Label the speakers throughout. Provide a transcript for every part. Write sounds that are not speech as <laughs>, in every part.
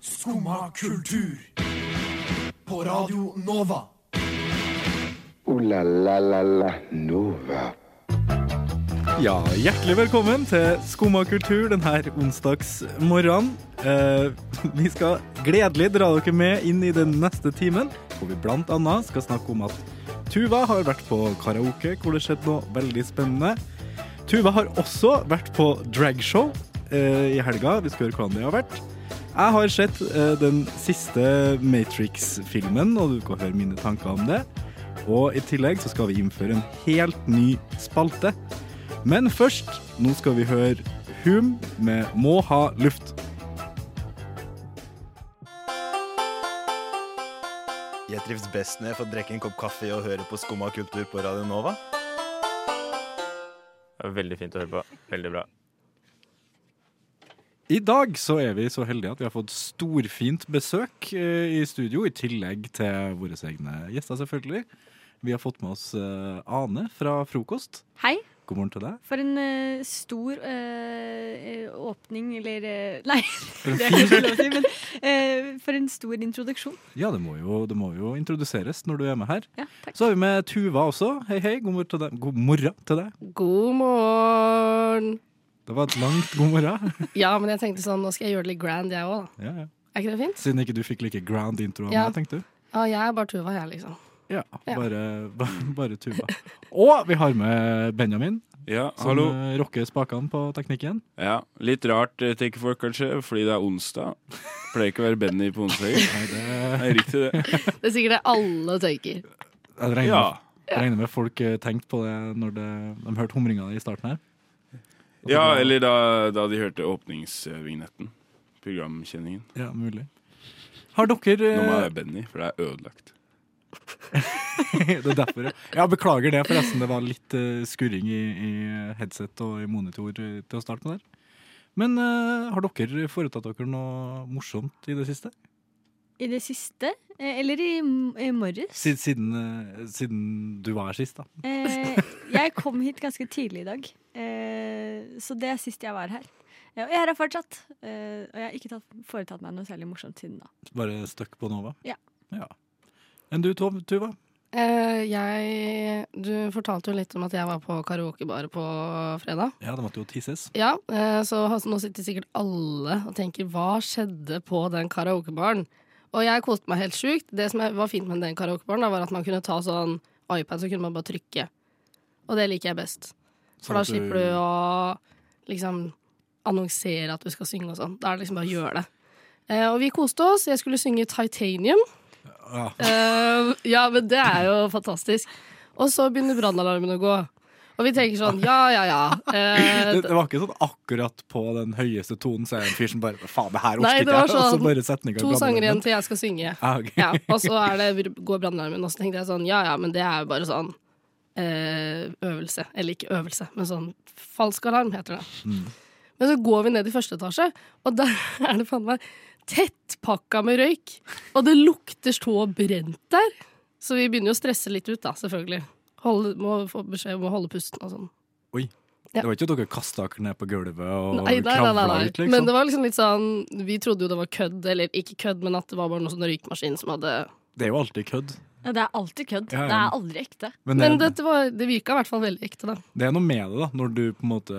Speaker 1: Skumma kultur. På Radio Nova.
Speaker 2: Ooh la la la la Nova.
Speaker 3: Ja, Hjertelig velkommen til Skumma kultur denne onsdagsmorgenen. Eh, vi skal gledelig dra dere med inn i den neste timen, hvor vi bl.a. skal snakke om at Tuva har vært på karaoke, hvor det skjedde noe veldig spennende. Tuva har også vært på dragshow eh, i helga. Vi skal høre hvordan det har vært. Jeg har sett eh, den siste Matrix-filmen, og du kan høre mine tanker om det. Og i tillegg så skal vi innføre en helt ny spalte. Men først, nå skal vi høre Hum med Må ha luft.
Speaker 4: Jeg trives best når jeg får drikke en kopp kaffe og høre på Skumma kultur på Radio Nova.
Speaker 5: Det var Veldig fint å høre på. Veldig bra.
Speaker 3: I dag så er vi så heldige at vi har fått storfint besøk eh, i studio, i tillegg til våre egne gjester, selvfølgelig. Vi har fått med oss eh, Ane fra Frokost.
Speaker 6: Hei.
Speaker 3: God morgen til deg.
Speaker 6: For en eh, stor eh, eh, åpning, eller eh, <laughs> Nei,
Speaker 3: en
Speaker 6: det er kanskje lov å si, men eh, for en stor introduksjon.
Speaker 3: Ja, det må jo, det må jo introduseres når du er med her.
Speaker 6: Ja, takk.
Speaker 3: Så har vi med Tuva også. Hei, hei. God morgen til deg. God morgen til deg.
Speaker 7: God morgen!
Speaker 3: Det var et langt god morgen. <laughs>
Speaker 7: Ja, men jeg tenkte sånn, nå skal jeg gjøre det litt grand, jeg òg.
Speaker 3: Ja, ja.
Speaker 7: Er ikke det fint?
Speaker 3: Siden ikke du fikk like grand intro av
Speaker 7: Ja.
Speaker 3: meg, tenkte du.
Speaker 7: Ja, jeg er bare Tuva, jeg, liksom.
Speaker 3: Ja,
Speaker 7: Ja.
Speaker 3: bare, <laughs> bare, bare Tuva. Og vi har med Benjamin,
Speaker 8: Ja,
Speaker 3: som
Speaker 8: hallo.
Speaker 3: eh, rocker spakene på teknikken.
Speaker 8: Ja, litt rart eh, tenker folk kanskje, fordi det er onsdag. Pleier ikke å være Benny på onsdager.
Speaker 3: Nei, det
Speaker 8: Nei, riktig det.
Speaker 7: Det er sikkert det alle tenker.
Speaker 3: jeg regner,
Speaker 8: Ja.
Speaker 3: jeg regner med folk eh, tenkte på det når det, de hørte humringa i starten her. At
Speaker 8: Ja,
Speaker 3: det var-
Speaker 8: eller da, da de hørte åpningsvignetten. Programkjenningen.
Speaker 3: Ja, mulig. Har dere
Speaker 8: Nå må
Speaker 3: eh,
Speaker 8: jeg være Benny, for det er ødelagt.
Speaker 3: eh, <laughs> Det er derfor, ja. ja. Beklager det, forresten. Det var litt eh, skurring i, i headset og i monitor eh, til å starte med der. Men eh, har dere foretatt dere noe morsomt i det siste?
Speaker 6: I det siste, eh, eller i, m- i morges
Speaker 3: Siden, siden, eh, siden du var her sist, da.
Speaker 6: eh, Jeg kom hit ganske tidlig i dag, eh, så det er sist jeg var her. Ja, og jeg er her fortsatt, eh, og jeg har ikke tatt, foretatt meg noe særlig morsomt siden da.
Speaker 3: Bare støkk på Nova?
Speaker 6: Ja.
Speaker 3: Enn du, Tov, Tuva?
Speaker 7: Eh, jeg Du fortalte jo litt om at jeg var på karaokebar på fredag.
Speaker 3: Ja, det måtte jo tisses.
Speaker 7: Ja, eh, så has- nå sitter sikkert alle og tenker hva skjedde på den karaokebaren? Og jeg koste meg helt sjukt. Det som er- var fint med den karaokebaren, da, var at man kunne ta sånn iPad, så kunne man bare trykke. Og det liker jeg best.
Speaker 3: Sånn
Speaker 7: For da
Speaker 3: at du-
Speaker 7: slipper du å liksom annonsere at du skal synge og sånn. Da er det liksom bare å gjøre det. Eh, og vi koste oss. Jeg skulle synge Titanium.
Speaker 3: Ja.
Speaker 7: Eh, ja, men det er jo fantastisk. Og så begynner brannalarmen å gå. Og vi tenker sånn ja, ja,
Speaker 3: <laughs>
Speaker 7: ja. Eh,
Speaker 3: Det, det var ikke sånn akkurat på den høyeste tonen, så er det en fyr som bare Faen, det her orker
Speaker 7: Nei,
Speaker 3: ikke
Speaker 7: det
Speaker 3: jeg.
Speaker 7: var
Speaker 3: Og så
Speaker 7: sånn,
Speaker 3: bare setninga
Speaker 7: To sanger igjen til jeg skal synge.
Speaker 3: Ah, ok.
Speaker 7: Ja, og så er det, går brannalarmen, og så tenkte jeg sånn ja ja, men det er jo bare sånn eh, øvelse. Eller ikke øvelse, men sånn falsk alarm heter det.
Speaker 3: Mm.
Speaker 7: Men så går vi ned i første etasje, og der <laughs> er det faen meg tettpakka med røyk. Og det lukter så brent der. Så vi begynner jo å stresse litt ut, da, selvfølgelig. Holde, må få beskjed om å holde pusten og sånn. Ja.
Speaker 3: Det var ikke at dere kasta dere ned på gulvet og
Speaker 7: Nei, nei, nei, nei,
Speaker 3: kravla
Speaker 7: nei.
Speaker 3: ut, liksom?
Speaker 7: Men det var liksom litt sånn Vi trodde jo det var kødd, eller ikke kødd, men at det var bare noen sånn røykmaskin som hadde
Speaker 3: Det er jo alltid kødd.
Speaker 6: Ja, det er alltid kødd.
Speaker 3: Ja, ja.
Speaker 6: Det er aldri ekte.
Speaker 3: Men,
Speaker 7: Men
Speaker 3: det,
Speaker 7: dette var, det virka i hvert fall veldig ekte, da.
Speaker 3: det er noe med det, da, når du på en måte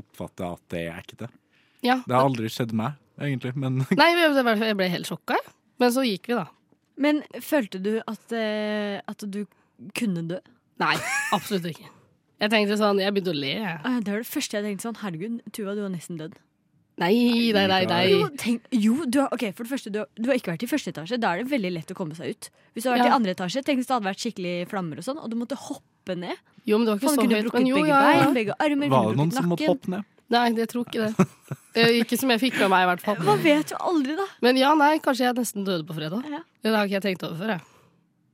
Speaker 3: oppfatter at det er ekte.
Speaker 7: Ja.
Speaker 3: Det har aldri skjedd meg, egentlig, men
Speaker 7: <laughs> Nei, jeg det var- jeg ble helt sjokka, jeg. Men så gikk vi, da.
Speaker 6: Men følte du at, eh, at du kunne dø?
Speaker 7: Nei, absolutt ikke. Jeg tenkte sånn, jeg begynte å le. jeg.
Speaker 6: Ah, Det var det første jeg tenkte sånn. Herregud, Tuva, du har nesten dødd.
Speaker 7: Nei, nei, nei,
Speaker 6: Jo,
Speaker 7: nei.
Speaker 6: tenk, jo du har, ok, for det første, du har, du har ikke vært i første etasje. Da er det veldig lett å komme seg ut. Hvis du har vært
Speaker 7: Ja.
Speaker 6: i andre etasje, tenk hvis det hadde vært skikkelig flammer og sånn, og du måtte hoppe ned.
Speaker 7: Jo, men det var ikke
Speaker 6: Faen, du
Speaker 7: så
Speaker 6: kunne
Speaker 7: høyt. Men
Speaker 6: brukket
Speaker 7: jo,
Speaker 6: begge
Speaker 7: ja, ja.
Speaker 6: bein, begge
Speaker 3: <laughs>
Speaker 6: armer,
Speaker 3: var det
Speaker 6: kunne
Speaker 3: noen
Speaker 6: brukket
Speaker 3: som måtte
Speaker 6: nakken.
Speaker 3: hoppe ned?
Speaker 7: Nei, jeg tror ikke det. Eh, Ikke som jeg fikk med meg, i hvert fall.
Speaker 6: Man vet jo aldri, da.
Speaker 7: Men ja, nei, kanskje jeg nesten døde på fredag.
Speaker 6: Ja.
Speaker 7: Det har ikke jeg tenkt over før, jeg.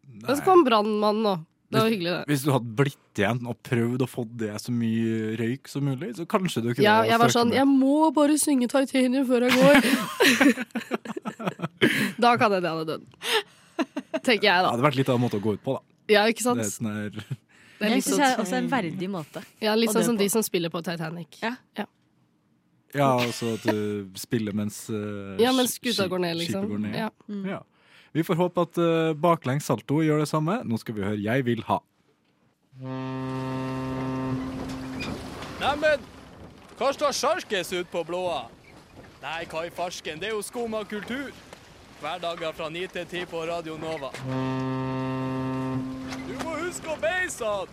Speaker 7: Men så
Speaker 3: Nei.
Speaker 7: kom brannmannen nå. Det var hyggelig, det.
Speaker 3: Hvis du hadde blitt igjen og prøvd å få det så mye røyk som mulig, så kanskje du kunne
Speaker 7: Ja, jeg var
Speaker 3: søke
Speaker 7: sånn,
Speaker 3: med.
Speaker 7: jeg må bare synge Titanium før jeg
Speaker 3: <laughs>
Speaker 7: går. Da kan jeg det hadde dødd. Tenker jeg,
Speaker 3: Det
Speaker 7: da.
Speaker 3: hadde vært litt av en måte å gå ut på, da.
Speaker 7: Ja, ikke sant?
Speaker 3: Det er sånn her
Speaker 7: Det er
Speaker 6: Det
Speaker 7: litt
Speaker 6: syns
Speaker 7: sånn-
Speaker 6: jeg er også en verdig måte.
Speaker 7: Ja, litt
Speaker 6: Og det
Speaker 7: sånn som
Speaker 6: på-
Speaker 7: de som spiller på Titanic.
Speaker 6: Ja.
Speaker 3: Ja, altså at du spiller mens eh,
Speaker 7: Ja, mens skuta
Speaker 3: skip-
Speaker 7: går ned, liksom.
Speaker 3: Skipet går ned.
Speaker 7: Ja.
Speaker 3: Ja. Vi får håpe at eh, baklengs salto gjør det samme. Nå skal vi høre 'Jeg vil ha'.
Speaker 9: Neimen, hva står sjarkes ut på blåa? Nei, hva i farsken, det er jo skum av kultur. Hverdager fra 9 til 10 på Radio Nova. Du må huske å beise han!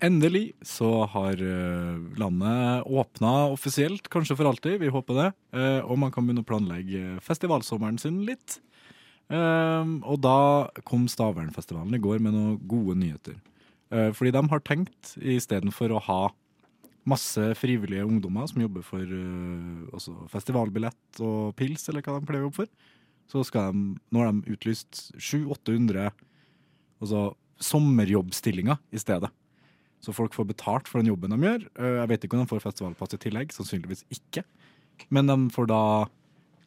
Speaker 3: Endelig så har eh, landet åpna offisielt, kanskje for alltid. Vi håper det. Eh, og man kan begynne å planlegge festivalsommeren sin litt. Eh, og da kom Stavernfestivalen i går med noen gode nyheter. Eh, fordi de har tenkt, istedenfor å ha masse frivillige ungdommer som jobber for eh, altså festivalbillett og pils, eller hva de pleier å jobbe for, så skal de, nå har de utlyst 700-800 altså, sommerjobbstillinger i stedet. Så folk får betalt for den jobben de gjør. Eh, Jeg vet ikke om de får festivalpass i tillegg, sannsynligvis ikke. Men de får da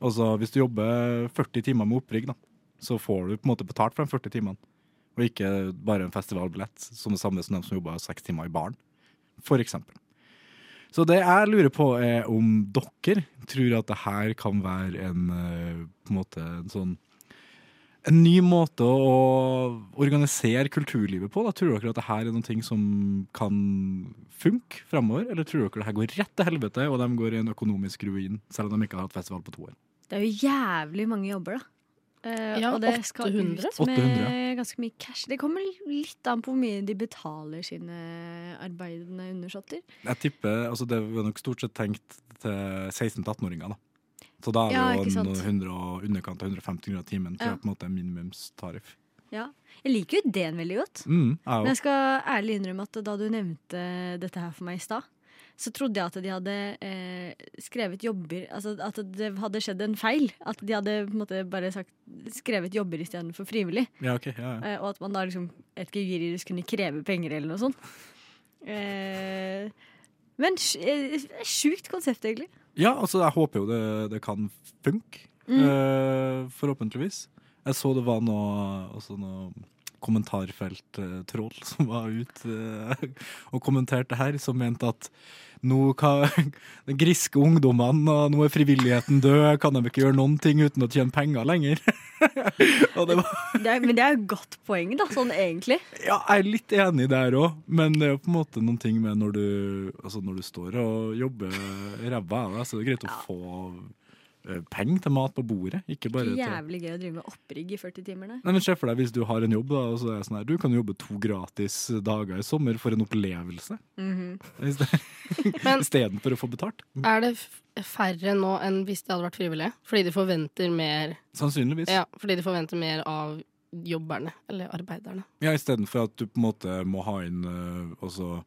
Speaker 3: Altså, hvis du jobber 40 timer med opprigg, da, så får du på en måte betalt for de 40 timene. Og ikke bare en festivalbillett, som det samme som de som jobber seks timer i baren. For eksempel. Så det jeg lurer på, er om dere tror at det her kan være en eh, på en måte en sånn en ny måte å organisere kulturlivet på? Da. Tror dere at det her er noen ting som kan funke fremover? Eller tror dere det her går rett til helvete, og de går i en økonomisk ruin, selv om de ikke har hatt festival på to år?
Speaker 6: Det er jo jævlig mange jobber, da. Eh,
Speaker 7: Ja,
Speaker 6: og det skal ut
Speaker 7: 800?
Speaker 6: med ganske mye cash. Det kommer litt an på hvor mye de betaler sine arbeidende undersåtter.
Speaker 3: Jeg tipper, altså Det var nok stort sett tenkt til 16-18-åringer. da. Så da er det
Speaker 6: Ja, ikke
Speaker 3: jo
Speaker 6: sant.
Speaker 3: noen hundre og underkant av 150 kroner timen. Tror
Speaker 6: Ja.
Speaker 3: jeg på en måte er minimumstariff.
Speaker 6: Ja. Jeg liker jo ideen veldig godt.
Speaker 3: Mm, jeg
Speaker 6: Men
Speaker 3: også.
Speaker 6: jeg skal ærlig innrømme at da du nevnte dette her for meg i stad, så trodde jeg at de hadde eh, skrevet jobber Altså at det hadde skjedd en feil. At de hadde på en måte bare sagt, skrevet jobber istedenfor frivillig.
Speaker 3: Ja, ok, ja, ja.
Speaker 6: Eh, og at man da liksom jeg vet ikke, juridisk kunne kreve penger eller noe sånt. Eh, men sj- eh, sjukt konsept, egentlig.
Speaker 3: Ja, altså jeg håper jo det, det kan funke. eh, forhåpentligvis. Jeg så det var noe, altså noe kommentarfelttroll <laughs> som var ute eh, og kommenterte her, som mente at nå kan <laughs> de griske ungdommene, og nå er frivilligheten død, kan de ikke gjøre noen ting uten å tjene penger lenger? <laughs> og det var
Speaker 6: Det er, men det er jo et godt poeng, da, sånn egentlig.
Speaker 3: ja, jeg er litt enig der òg, men det er jo på en måte noen ting med når du, altså når du står og jobber ræva av deg, så er det greit å få eh, penger til mat på bordet. Ikke bare til
Speaker 6: Jævlig gøy å drive med opprigg i 40 timer. nei.
Speaker 3: Nei, men Se for deg hvis du har en jobb, da, og så er det sånn her, du kan jobbe to gratis dager i sommer for en opplevelse. I sted-
Speaker 7: Mhm.
Speaker 3: <laughs>
Speaker 7: Men-
Speaker 3: Istedenfor å få betalt.
Speaker 7: Er det f- færre nå enn hvis det hadde vært frivillige? Fordi de forventer mer,
Speaker 3: Sannsynligvis.
Speaker 7: ja, fordi de forventer mer av jobberne, eller arbeiderne.
Speaker 3: Ja, istedenfor at du på en måte må ha inn eh, altså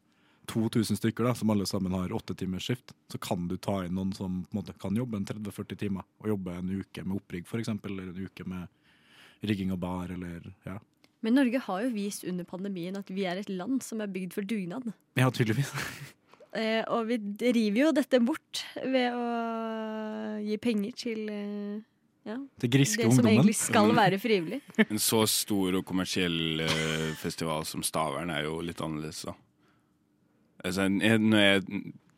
Speaker 3: 2000 stykker, da, som alle sammen har åtte timers skift, så kan du ta inn noen som på en måte kan jobbe en 30-40 timer, og jobbe en uke med opprigg f.eks., eller en uke med rigging av bar, eller ja.
Speaker 6: Men Norge har jo vist under pandemien at vi er et land som er bygd for dugnad.
Speaker 3: Ja, tydeligvis. <laughs>
Speaker 6: Eh, og vi river jo dette bort ved å gi penger til eh, ja,
Speaker 3: Det griske
Speaker 6: det som
Speaker 3: ungdommen.
Speaker 6: egentlig skal
Speaker 8: Mm.
Speaker 6: være frivillig.
Speaker 8: En så stor og kommersiell eh, festival som Stavern er jo litt annerledes, da. Altså, en- en- når jeg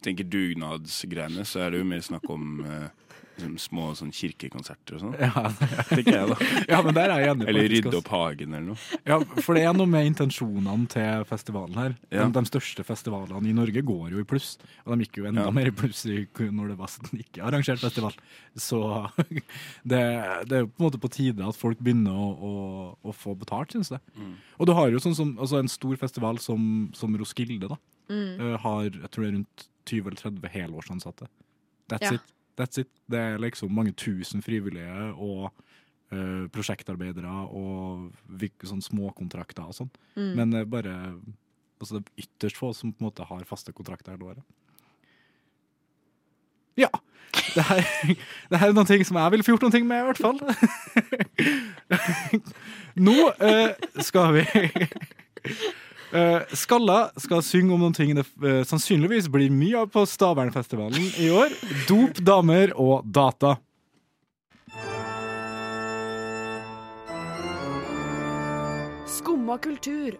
Speaker 8: tenker dugnadsgreiene, så er det jo mer snakk om eh, liksom små sånn kirkekonserter og sånn.
Speaker 3: <laughs> Ja,
Speaker 8: Tenker jeg, da.
Speaker 3: ja, men der er jeg enig.
Speaker 8: Eller
Speaker 3: faktisk,
Speaker 8: rydde
Speaker 3: altså.
Speaker 8: opp hagen eller noe.
Speaker 3: Ja, For det er noe med intensjonene til festivalen her.
Speaker 8: Ja.
Speaker 3: De, de største festivalene i Norge går jo i pluss, og de gikk jo enda
Speaker 8: Ja.
Speaker 3: mer i pluss i- når det var sånn ikke arrangert festival. Så <laughs> det, det er jo på en måte på tide at folk begynner å, å, å få betalt, syns jeg.
Speaker 8: Mm.
Speaker 3: Og du har jo sånn som altså en stor festival som, som Roskilde, da. eh, Har jeg tror det er rundt 20 eller 30 helårsansatte. That's
Speaker 6: Ja.
Speaker 3: it. That's it. Det er liksom mange tusen frivillige og eh, prosjektarbeidere og vik- sånn småkontrakter og sånn. Men det er bare altså det er ytterst få som på en måte har faste kontrakter hele året. Ja. Det her, <laughs> det her er noen ting som jeg ville få gjort noen ting med, i hvert fall. <laughs> Nå eh, skal vi <laughs> Eh, Skalla skal synge om noen ting det eh, sannsynligvis blir mye av på Stavernfestivalen i år. Dop, damer og data.
Speaker 10: Skumma kultur.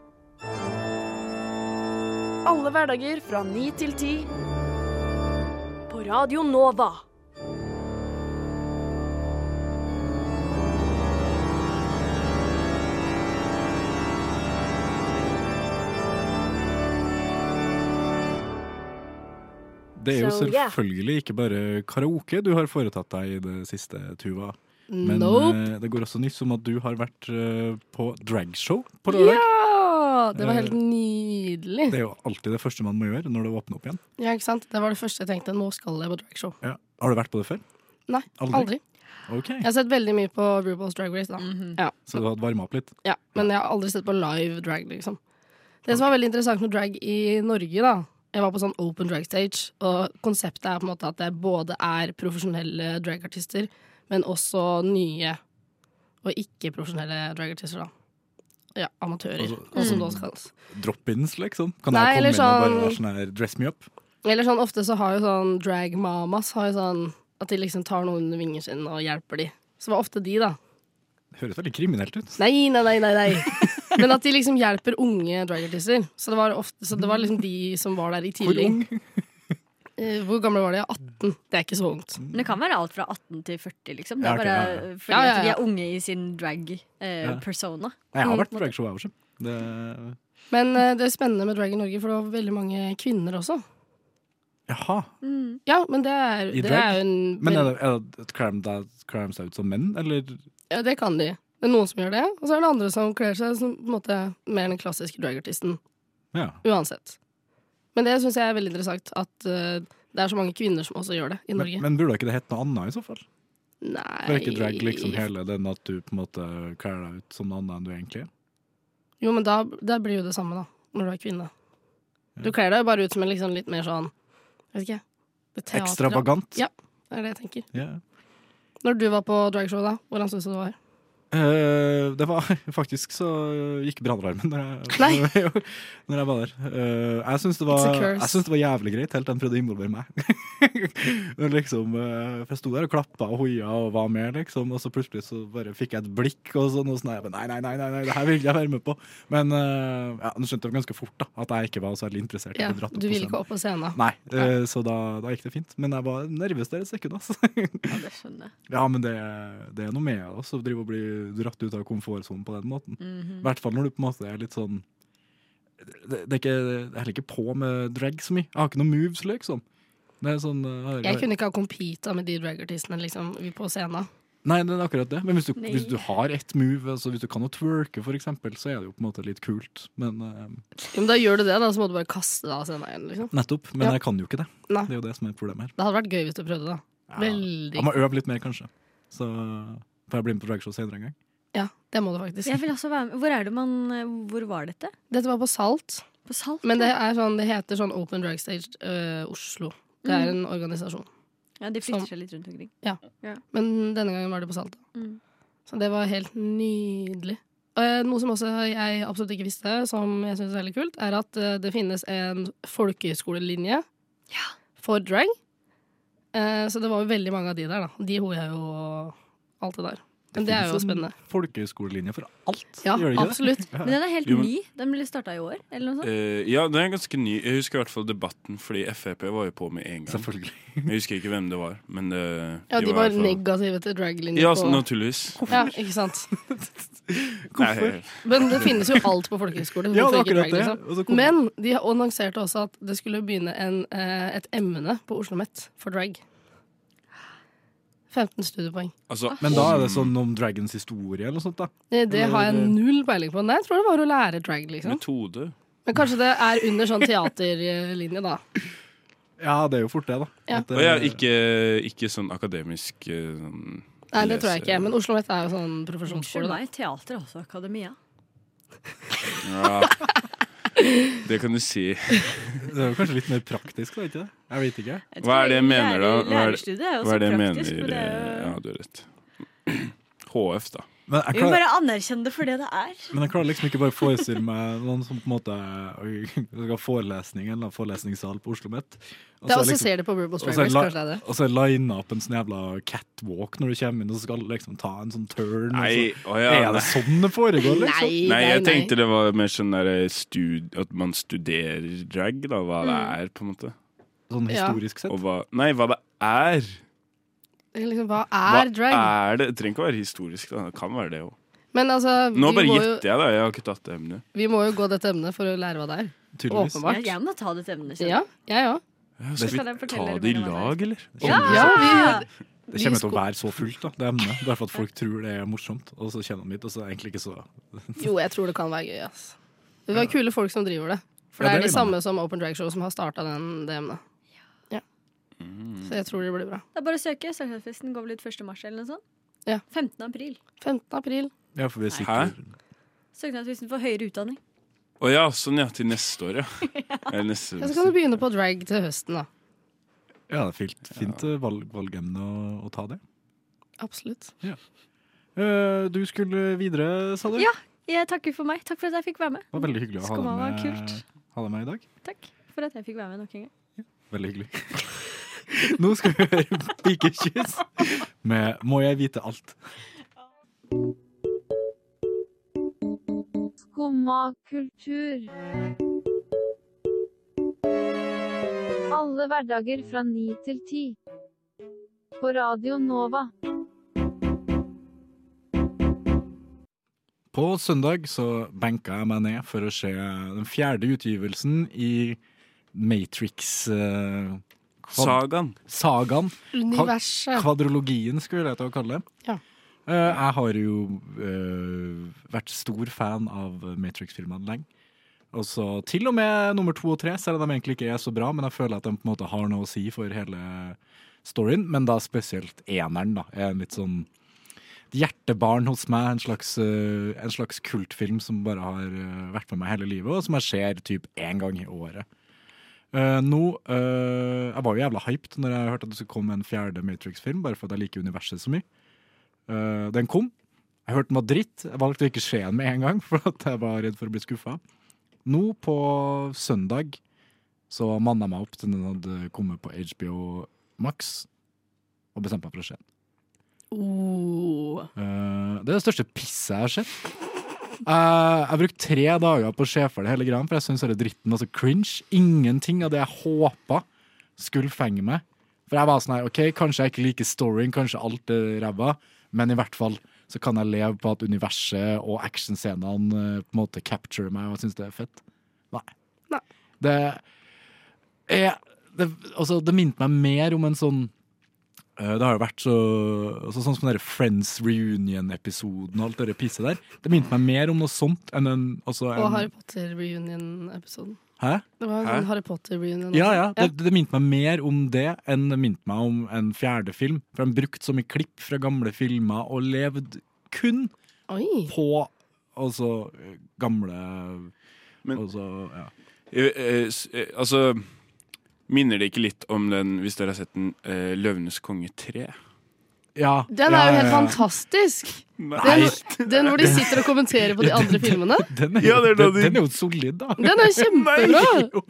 Speaker 10: Alle hverdager fra 9 til 10. På Radio Nova.
Speaker 3: Det er jo
Speaker 10: So, yeah.
Speaker 3: selvfølgelig ikke bare karaoke du har foretatt deg i det siste, Tuva. Men
Speaker 7: Nope.
Speaker 3: eh, det går også nyss om at du har vært eh, på dragshow på lørdag.
Speaker 7: Ja! Det var helt
Speaker 3: Eh,
Speaker 7: nydelig.
Speaker 3: Det er jo alltid det første man må gjøre når det åpner opp igjen.
Speaker 7: Ja, ikke sant? Det var det første jeg tenkte. Nå skal jeg på dragshow.
Speaker 3: Ja. Har du vært på det før?
Speaker 7: Nei,
Speaker 3: Aldri.
Speaker 7: aldri.
Speaker 3: Ok,
Speaker 7: Jeg har sett veldig mye på RuPaul's Drag Race, da. ja.
Speaker 3: Så du hadde varma opp litt?
Speaker 7: ja. Men jeg har aldri sett på live drag, liksom. Det som var veldig interessant med drag i Norge, da Jeg var på sånn open drag stage, og konseptet er på en måte at det både er profesjonelle dragartister, men også nye og ikke-profesjonelle dragartister, da. Ja, amatører,
Speaker 3: Altså,
Speaker 7: og som
Speaker 3: mm.
Speaker 7: det også kalles.
Speaker 3: Drop-ins, liksom? Kan
Speaker 7: Nei,
Speaker 3: jeg komme
Speaker 7: eller
Speaker 3: inn og bare
Speaker 7: sånn-
Speaker 3: være sånn her dress me up?
Speaker 7: Eller sånn, ofte så har jo sånn drag mamas har jo sånn At de liksom tar noen under vingen sin og hjelper de Så var ofte de da
Speaker 3: Det høres veldig kriminelt ut.
Speaker 7: Nei, nei, nei, nei, nei Men at de liksom hjelper unge dragartister Så det var ofte, så det var liksom de som var der i
Speaker 3: Hvor
Speaker 7: tidlig
Speaker 3: ung?
Speaker 7: Eh, Hvor gamle var de? 18 Det er ikke så ungt
Speaker 6: Men det kan være alt fra 18 til 40, liksom. Det
Speaker 3: Ja,
Speaker 6: er
Speaker 3: ok,
Speaker 6: bare
Speaker 3: ja, ja.
Speaker 6: eh, fordi
Speaker 7: Ja, ja,
Speaker 6: at de
Speaker 7: ja.
Speaker 6: er unge i sin eh, drag-persona.
Speaker 3: Nei, Jeg har
Speaker 7: Mm,
Speaker 3: vært på dragshow, jeg også. Det...
Speaker 7: Men eh, det er spennende med drag i Norge For det var veldig mange kvinner også
Speaker 3: Jaha.
Speaker 6: Mm.
Speaker 7: Ja, men det er,
Speaker 3: I
Speaker 7: det
Speaker 3: drag?
Speaker 7: er jo en
Speaker 3: Men er det, er det kram deg kram seg ut som menn, eller
Speaker 7: Ja, det kan de. Det er noen som gjør det, og så er det andre som kler seg som på en måte mer den klassiske dragartisten.
Speaker 3: Ja.
Speaker 7: Uansett. Men det syns jeg er veldig interessant, at eh, det er så mange kvinner som også gjør det i
Speaker 3: men,
Speaker 7: Norge.
Speaker 3: men burde ikke det hett noe annet i så fall?
Speaker 7: Nei
Speaker 3: Bør ikke drag liksom hele den at du på en måte kler deg ut som noe annet enn du egentlig er?
Speaker 7: Jo, men da, da blir jo det samme, da, når du er kvinne. Du kler deg jo bare ut som en liksom litt mer sånn Jeg vet ikke. det teater-
Speaker 3: Ekstravagant?
Speaker 7: Ja, det er det jeg tenker.
Speaker 3: Ja.
Speaker 7: Når du var på dragshow, da, hvordan syns du det var?
Speaker 3: Eh, det var <laughs> faktisk så gikk brannalarmen <laughs> når, jeg- når jeg var der. Eh, jeg syns det, var-
Speaker 7: It's a curse.
Speaker 3: jeg syns det var jævlig greit, helt til de prøvde å involvere meg. <laughs> Når liksom, eh, for jeg sto der og klappa og hoia og var med, liksom, og så plutselig så bare fikk jeg et blikk, og sånn, og sånn jeg bare, nei, nei, nei, nei, nei, det her vil jeg være med på. Men eh, ja, nå skjønte jeg ganske fort da, at jeg ikke var så veldig interessert. i å
Speaker 7: Ja,
Speaker 3: bli dratt opp
Speaker 7: du
Speaker 3: på
Speaker 7: ville
Speaker 3: scenen.
Speaker 7: ikke opp på scenen.
Speaker 3: Nei, eh, så da, da gikk det fint. Men jeg var nervøs der et sekund, altså. <laughs>
Speaker 6: Ja, det skjønner jeg.
Speaker 3: Ja, men det, det er noe med oss å drive og bli dratt ut av komfortsonen på den måten. I
Speaker 7: Mhm.
Speaker 3: hvert fall når du på en måte er litt sånn Det, det er ikke, jeg heller ikke på med drag så mye. Jeg har ikke noen moves, liksom. Det er sånn eh, har-
Speaker 7: Jeg kunne ikke ha competa med de dragartistene liksom, på scenen.
Speaker 3: Nei, det er akkurat det. Men hvis du,
Speaker 6: Nei.
Speaker 3: hvis du har ett move, altså hvis du kan å twerke, for eksempel, så er det jo på en måte litt kult. Men eh,
Speaker 7: Ja, men da gjør du det, da, så må du bare kaste deg av scenen igjen. Liksom.
Speaker 3: Nettopp. Men
Speaker 7: Ja.
Speaker 3: jeg kan jo ikke det.
Speaker 7: Nei.
Speaker 3: Det er jo det som er problemet her.
Speaker 7: Det hadde vært gøy hvis du prøvde, da. Veldig
Speaker 3: Jeg må øve litt mer, kanskje. Så får jeg bli med på dragshow senere en gang.
Speaker 7: Ja, det må du faktisk.
Speaker 6: Jeg vil også være med. Hvor er det man eh, Hvor var dette?
Speaker 7: Dette var på Salt,
Speaker 6: På Salt?
Speaker 7: men det, er sånn, det heter sånn Open Drag Stage øh, Oslo. Det er en organisasjon.
Speaker 6: ja, de
Speaker 7: som-
Speaker 6: flytter seg litt rundt omkring.
Speaker 7: Men denne gangen var det på Salt. Da.
Speaker 6: Mm.
Speaker 7: Så det var helt nydelig. Eh, noe som også jeg absolutt ikke visste, som jeg syns er veldig kult, er at eh, det finnes en folkehøyskolelinje for drag. Eh, så det var jo veldig mange av de der, da. De hoia jo og alt det der. Men det, er jo
Speaker 3: finnes en
Speaker 7: spennende.
Speaker 3: Folkehøyskolelinje for alt,
Speaker 7: Ja,
Speaker 3: gjør det ikke det?
Speaker 7: absolutt.
Speaker 6: Men den er helt
Speaker 8: Jo, men-
Speaker 6: ny. Den ble starta i år, eller noe sånt.
Speaker 8: Eh, ja, den er ganske ny. Jeg husker i hvert fall debatten, fordi Frp var jo på med en gang.
Speaker 3: Selvfølgelig.
Speaker 8: Jeg husker ikke hvem det var, men det,
Speaker 7: Ja, de
Speaker 8: i
Speaker 7: var
Speaker 8: hvert fall-
Speaker 7: negative til draglinjer.
Speaker 8: Ja,
Speaker 7: på-
Speaker 8: så, naturligvis.
Speaker 7: ja, ikke sant?
Speaker 3: <laughs> Hvorfor?
Speaker 8: Nei,
Speaker 7: Men det finnes jo alt på folkehøyskole.
Speaker 3: Ja, det er
Speaker 7: hvorfor ikke
Speaker 3: akkurat det.
Speaker 7: drag, liksom?
Speaker 3: Og så kom-
Speaker 7: Men de annonserte også at det skulle begynne en, eh, et emne på Oslo Met for drag. 15 studiepoeng.
Speaker 8: altså,
Speaker 3: Men da er det sånn om Dragons historie eller noe sånt, da.
Speaker 7: Eh, Det, det har jeg
Speaker 3: det-
Speaker 7: null peiling på. Nei, jeg tror det var å lære drag, liksom.
Speaker 8: Metode.
Speaker 7: Men kanskje det er under sånn teaterlinje, da.
Speaker 3: Ja, det er jo fort det, da.
Speaker 7: Ja.
Speaker 3: At det-
Speaker 8: Og ja, ikke, ikke sånn akademisk eh, sånn,
Speaker 7: Nei, det tror jeg
Speaker 8: lese-
Speaker 7: ikke. Men Oslo Met er jo sånn
Speaker 6: Unnskyld
Speaker 7: profesjonsskole, da.
Speaker 6: meg, teater også. Akademia.
Speaker 8: Ja. Det kan du
Speaker 7: <laughs>
Speaker 8: si.
Speaker 3: Det er jo kanskje litt mer praktisk, da, ikke det? Jeg vet ikke.
Speaker 8: Hva
Speaker 6: Jeg tror
Speaker 8: er det jeg mener, da? Hva er-
Speaker 6: Lærerstudiet er jo
Speaker 8: Hva
Speaker 6: også
Speaker 8: er det jeg
Speaker 6: praktisk.
Speaker 8: mener? eh,
Speaker 6: men det er jo-
Speaker 8: Ja, du har rett. <clears throat> HF, da.
Speaker 3: Men jeg
Speaker 6: Vi må
Speaker 3: klarer,
Speaker 6: bare anerkjenne det for det det er.
Speaker 3: men jeg klarer liksom ikke bare å forestille meg noen som på en måte øy, skal ha forelesning eller en forelesningssal på Oslo Met.
Speaker 7: Det er også ser det på Rubles
Speaker 3: liksom- og
Speaker 7: Drag
Speaker 3: så er
Speaker 7: Race,
Speaker 3: la-
Speaker 7: kanskje det er det.
Speaker 3: og så er line up en sånn jævla catwalk når du kommer inn, og så skal alle liksom ta en sånn turn.
Speaker 8: Nei,
Speaker 3: og så,
Speaker 8: å ja,
Speaker 3: er
Speaker 8: nei.
Speaker 3: det sånn det foregår,
Speaker 7: <laughs>
Speaker 3: liksom?
Speaker 7: Nei,
Speaker 8: Nei, jeg tenkte det eh,
Speaker 7: Mm.
Speaker 8: var mer sånn der stud, at man studerer drag, da, hva det er, på en måte.
Speaker 3: Sånn
Speaker 7: Ja.
Speaker 3: historisk sett.
Speaker 8: Og hva, nei, hva det er.
Speaker 7: Liksom, hva
Speaker 8: Hva
Speaker 7: er drag?
Speaker 8: er det? Det trenger ikke være historisk. Da. Det kan være det òg.
Speaker 7: Men altså,
Speaker 8: Nå
Speaker 7: vi,
Speaker 8: bare
Speaker 7: må jo,
Speaker 8: gjetter jeg, da. Jeg har ikke tatt det emnet.
Speaker 7: vi må jo gå dette emnet for å lære hva det er.
Speaker 3: Tydeligvis.
Speaker 6: Jeg,
Speaker 7: Åpenbart.
Speaker 6: jeg må ta dette emnet selv.
Speaker 7: Ja, jeg òg.
Speaker 8: Skal
Speaker 6: Skal
Speaker 8: vi
Speaker 6: jeg fortelle
Speaker 8: ta
Speaker 6: dere
Speaker 8: det i
Speaker 6: mer om hva
Speaker 8: lag, eller?
Speaker 7: Ja, vi,
Speaker 3: Sånn, Det kommer til
Speaker 7: Lysgo-
Speaker 3: å være så fullt, da. Det emnet. Bare for at folk tror det er morsomt, og så kommer de hit, og så er det egentlig ikke så
Speaker 7: jo, jeg tror det kan være gøy. Ass. Det var kule folk som driver det. For
Speaker 3: Ja,
Speaker 7: det
Speaker 3: det
Speaker 7: er de
Speaker 3: vil man.
Speaker 7: samme som Open Drag Show som har starta det emnet. Ja. Så jeg tror det blir bra.
Speaker 6: Det er bare å søke. Sørlandsfesten går vel ut 1. mars eller noe sånt?
Speaker 7: Ja.
Speaker 6: 15. april.
Speaker 7: 15. april.
Speaker 3: Ja, for vi er sikre.
Speaker 8: Hæ?
Speaker 6: Søknadsfesten for høyere utdanning.
Speaker 8: Å ja, sånn ja. Til neste år, ja. <laughs> Eller neste
Speaker 7: <laughs> Ja, så kan du begynne på drag til høsten, da.
Speaker 3: Ja, det er fint, fint eh, valg, valgemne å, å ta det.
Speaker 7: Absolutt.
Speaker 3: Eh, du skulle videre, sa du?
Speaker 6: Ja. Jeg takker for meg. Takk for at jeg fikk være med.
Speaker 3: Det var veldig hyggelig å ha deg
Speaker 6: Skumma var
Speaker 3: med,
Speaker 6: kult.
Speaker 3: ha deg med i dag.
Speaker 6: Takk for at jeg fikk være med nok en gang.
Speaker 3: Veldig hyggelig. <laughs> Nå skal vi høre Pikekyss med Må jeg vite alt.
Speaker 10: Skumma kultur. Alle hverdager fra ni til ti. På Radio Nova.
Speaker 3: På søndag så benka jeg meg ned for å se den fjerde utgivelsen i eh, Matrix-sagaen.
Speaker 8: Sagaen.
Speaker 7: Universet.
Speaker 3: Kvadrologien, skulle jeg til å kalle det.
Speaker 7: Ja.
Speaker 3: Eh, jeg har jo eh, vært stor fan av Matrix-filmene lenge. Og så til og med nummer to og tre, selv om de egentlig ikke er så bra, men jeg føler at de på en måte har noe å si for hele storyen. Men da spesielt eneren, da. Er en litt sånn et hjertebarn hos meg. En slags, eh, en slags kultfilm som bare har eh, vært med meg hele livet, og som jeg ser typ én gang i året. Eh, nå, eh, Jeg var jo jævla hyped når jeg hørte at det skulle komme en fjerde Matrix-film, bare for at jeg liker universet så mye. Eh, den kom. Jeg hørte den var dritt. Jeg valgte å ikke se den med en gang, <laughs> for at jeg var redd for å bli skuffa. Nå på søndag så manna jeg meg opp til den hadde kommet på HBO Max, og bestemte meg for å se den.
Speaker 7: Oh.
Speaker 3: Eh, det er det største pisset jeg har sett. Eh, jeg brukte tre dager på å se for det hele greia, for jeg syns denne dritten var så cringe. Ingenting av det jeg håpa skulle fenge meg. For jeg var sånn her, ok, kanskje jeg ikke liker storyen, kanskje alt er ræva, men i hvert fall så kan jeg leve på at universet og actionscenene eh, på en måte capturer meg, og jeg syns det er fett. Nei.
Speaker 7: Nei.
Speaker 3: Det er det, Altså, det minte meg mer om en sånn eh, det har jo vært så, altså sånn som den der Friends reunion-episoden og alt det der pisset der. Det minte meg mer om noe sånt enn en, altså
Speaker 7: Og
Speaker 3: en
Speaker 7: Harry Potter reunion-episoden.
Speaker 3: Hæ?
Speaker 7: Det var en
Speaker 8: Hæ?
Speaker 7: sånn Harry Potter reunion.
Speaker 3: Ja,
Speaker 7: også.
Speaker 3: ja. Det, det minte meg mer om det enn det minte meg om en fjerde film. For de brukte så mye klipp fra gamle filmer og levde kun
Speaker 7: Oi.
Speaker 3: på altså gamle
Speaker 8: Men-
Speaker 3: altså, ja.
Speaker 8: Eh, eh, s- eh, Altså Minner det ikke litt om den, hvis dere har sett den, eh, 'Løvenes konge 3'?
Speaker 3: ja.
Speaker 7: Den
Speaker 3: ja,
Speaker 7: er jo
Speaker 3: ja,
Speaker 7: helt
Speaker 3: ja.
Speaker 7: fantastisk! Den,
Speaker 3: Nei!
Speaker 7: den hvor de sitter og kommenterer
Speaker 3: <laughs>
Speaker 7: på de andre filmene.
Speaker 3: Den er,
Speaker 8: Ja,
Speaker 3: jo,
Speaker 8: det er da
Speaker 3: den,
Speaker 8: de-
Speaker 3: den er jo solid, da. <laughs>
Speaker 7: Den er jo kjempebra!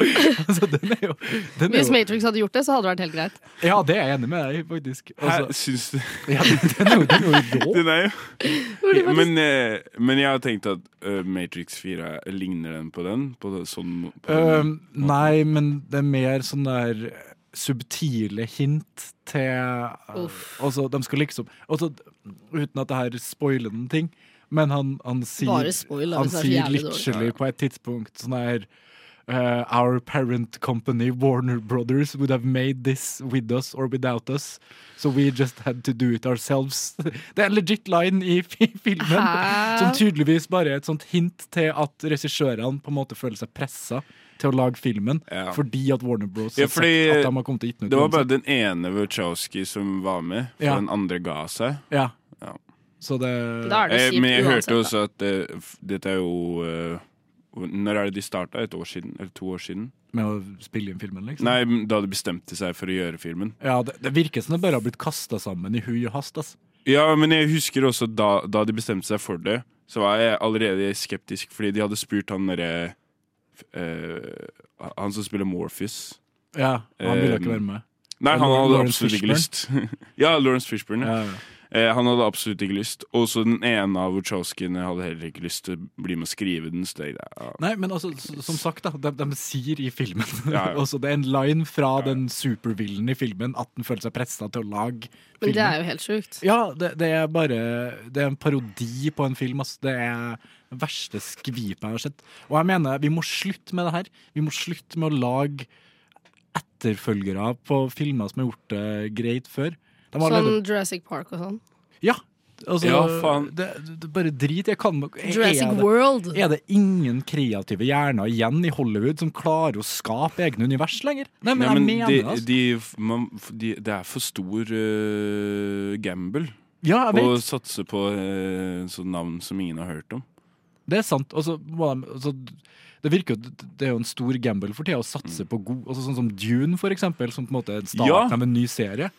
Speaker 3: altså, den er jo, den er
Speaker 7: Hvis
Speaker 3: jo
Speaker 7: Matrix hadde gjort det, så hadde det vært helt greit.
Speaker 3: Ja, det er jeg enig med deg i, faktisk.
Speaker 8: Hæ,
Speaker 3: Altså,
Speaker 8: syns du
Speaker 3: ja, den er jo,
Speaker 8: <laughs>
Speaker 3: den er jo rå.
Speaker 8: Den er jo
Speaker 7: <laughs>
Speaker 8: Ja, men, eh, men jeg har tenkt at eh, Matrix 4 er- ligner den på den? På det, sånn på den.
Speaker 3: Øhm, nei, men det er mer sånn der subtile hint til
Speaker 7: Uff.
Speaker 3: Altså, de skal liksom altså, Uten at det her spoiler noen ting, men han, han sier
Speaker 7: Bare spoil, da,
Speaker 3: Han
Speaker 7: hvis det er så
Speaker 3: sier
Speaker 7: jævlig dårlig.
Speaker 3: literally på et tidspunkt sånn her eh, Our parent company, Warner Brothers, would have made this with us or without us. So we just had to do it ourselves. <laughs> Det er en legit line i fi- filmen.
Speaker 7: Hæ?
Speaker 3: Som tydeligvis bare er et sånt hint til at regissørene på en måte føler seg pressa til å lage filmen
Speaker 8: Ja.
Speaker 3: fordi at Warner Bros.
Speaker 8: Ja,
Speaker 3: har sagt
Speaker 8: fordi-
Speaker 3: at de har kommet til å gitt den ut.
Speaker 8: Det var bare
Speaker 3: uansett.
Speaker 8: den ene Wachowski som var med, for
Speaker 3: Ja.
Speaker 8: den andre ga seg.
Speaker 3: ja.
Speaker 8: Ja.
Speaker 3: Så det
Speaker 7: Da er det
Speaker 8: Eh,
Speaker 7: kjipt
Speaker 8: men jeg
Speaker 7: uansett.
Speaker 8: hørte
Speaker 7: da.
Speaker 8: også at eh, f- dette er jo eh, Når er det de starta? Et år siden? Eller to år siden?
Speaker 3: Med å spille inn filmen, liksom?
Speaker 8: Nei, da de bestemte seg for å gjøre filmen.
Speaker 3: Ja, det, det virker som det bare har blitt kasta sammen i hui og hast. ass.
Speaker 8: Ja, men jeg husker også da, da de bestemte seg for det, så var jeg allerede skeptisk, fordi de hadde spurt han derre eh, Han som spiller Morpheus.
Speaker 3: Ja, Han ville
Speaker 8: Eh,
Speaker 3: ikke være med.
Speaker 8: Nei,
Speaker 3: Ja,
Speaker 8: han hadde
Speaker 3: Lawrence
Speaker 8: absolutt ikke
Speaker 3: Fishburne.
Speaker 8: <laughs> lyst. ja, Lawrence Fishburne. Ja.
Speaker 3: Ja, ja.
Speaker 8: Eh, han hadde absolutt ikke lyst. Og så den ene av Wachowskiene hadde heller ikke lyst til å bli med å skrive den. Så tenkte jeg, ja.
Speaker 3: Nei, men altså, s- som sagt, da, de, de sier i filmen
Speaker 8: <laughs> Ja, ja.
Speaker 3: <laughs> også, Det er en line fra den supervillen i filmen at den føler seg pressa til å lage filmen.
Speaker 7: Men det er jo helt sjukt.
Speaker 3: Ja, det, det er bare Det er en parodi på en film. ass. Det er den verste skvipet jeg har sett. Og jeg mener, vi må slutte med det her. Vi må slutte med å lage etterfølgere på filmer som har gjort det greit før. De har
Speaker 7: Sånn
Speaker 3: allerede-
Speaker 7: Jurassic Park og sånn.
Speaker 3: Ja! Altså,
Speaker 8: Ja, faen.
Speaker 3: Det, det, bare drit. Jeg kan nok er
Speaker 7: Jurassic
Speaker 3: det-
Speaker 7: World.
Speaker 3: er det ingen kreative hjerner igjen i Hollywood som klarer å skape egne univers lenger? Nei, men,
Speaker 8: Nei, men
Speaker 3: jeg mener
Speaker 8: de,
Speaker 3: det, altså.
Speaker 8: de, man, de, det er for stor eh, gamble
Speaker 3: Ja, jeg
Speaker 8: å
Speaker 3: vet.
Speaker 8: satse på eh, sånn navn som ingen har hørt om.
Speaker 3: Det er sant. Og så må de, altså, det virker jo Det er jo en stor gamble for tida å satse
Speaker 7: Mm.
Speaker 3: på god altså, Sånn som Dune, for eksempel, som på en måte er starten
Speaker 8: Ja.
Speaker 3: av en ny serie.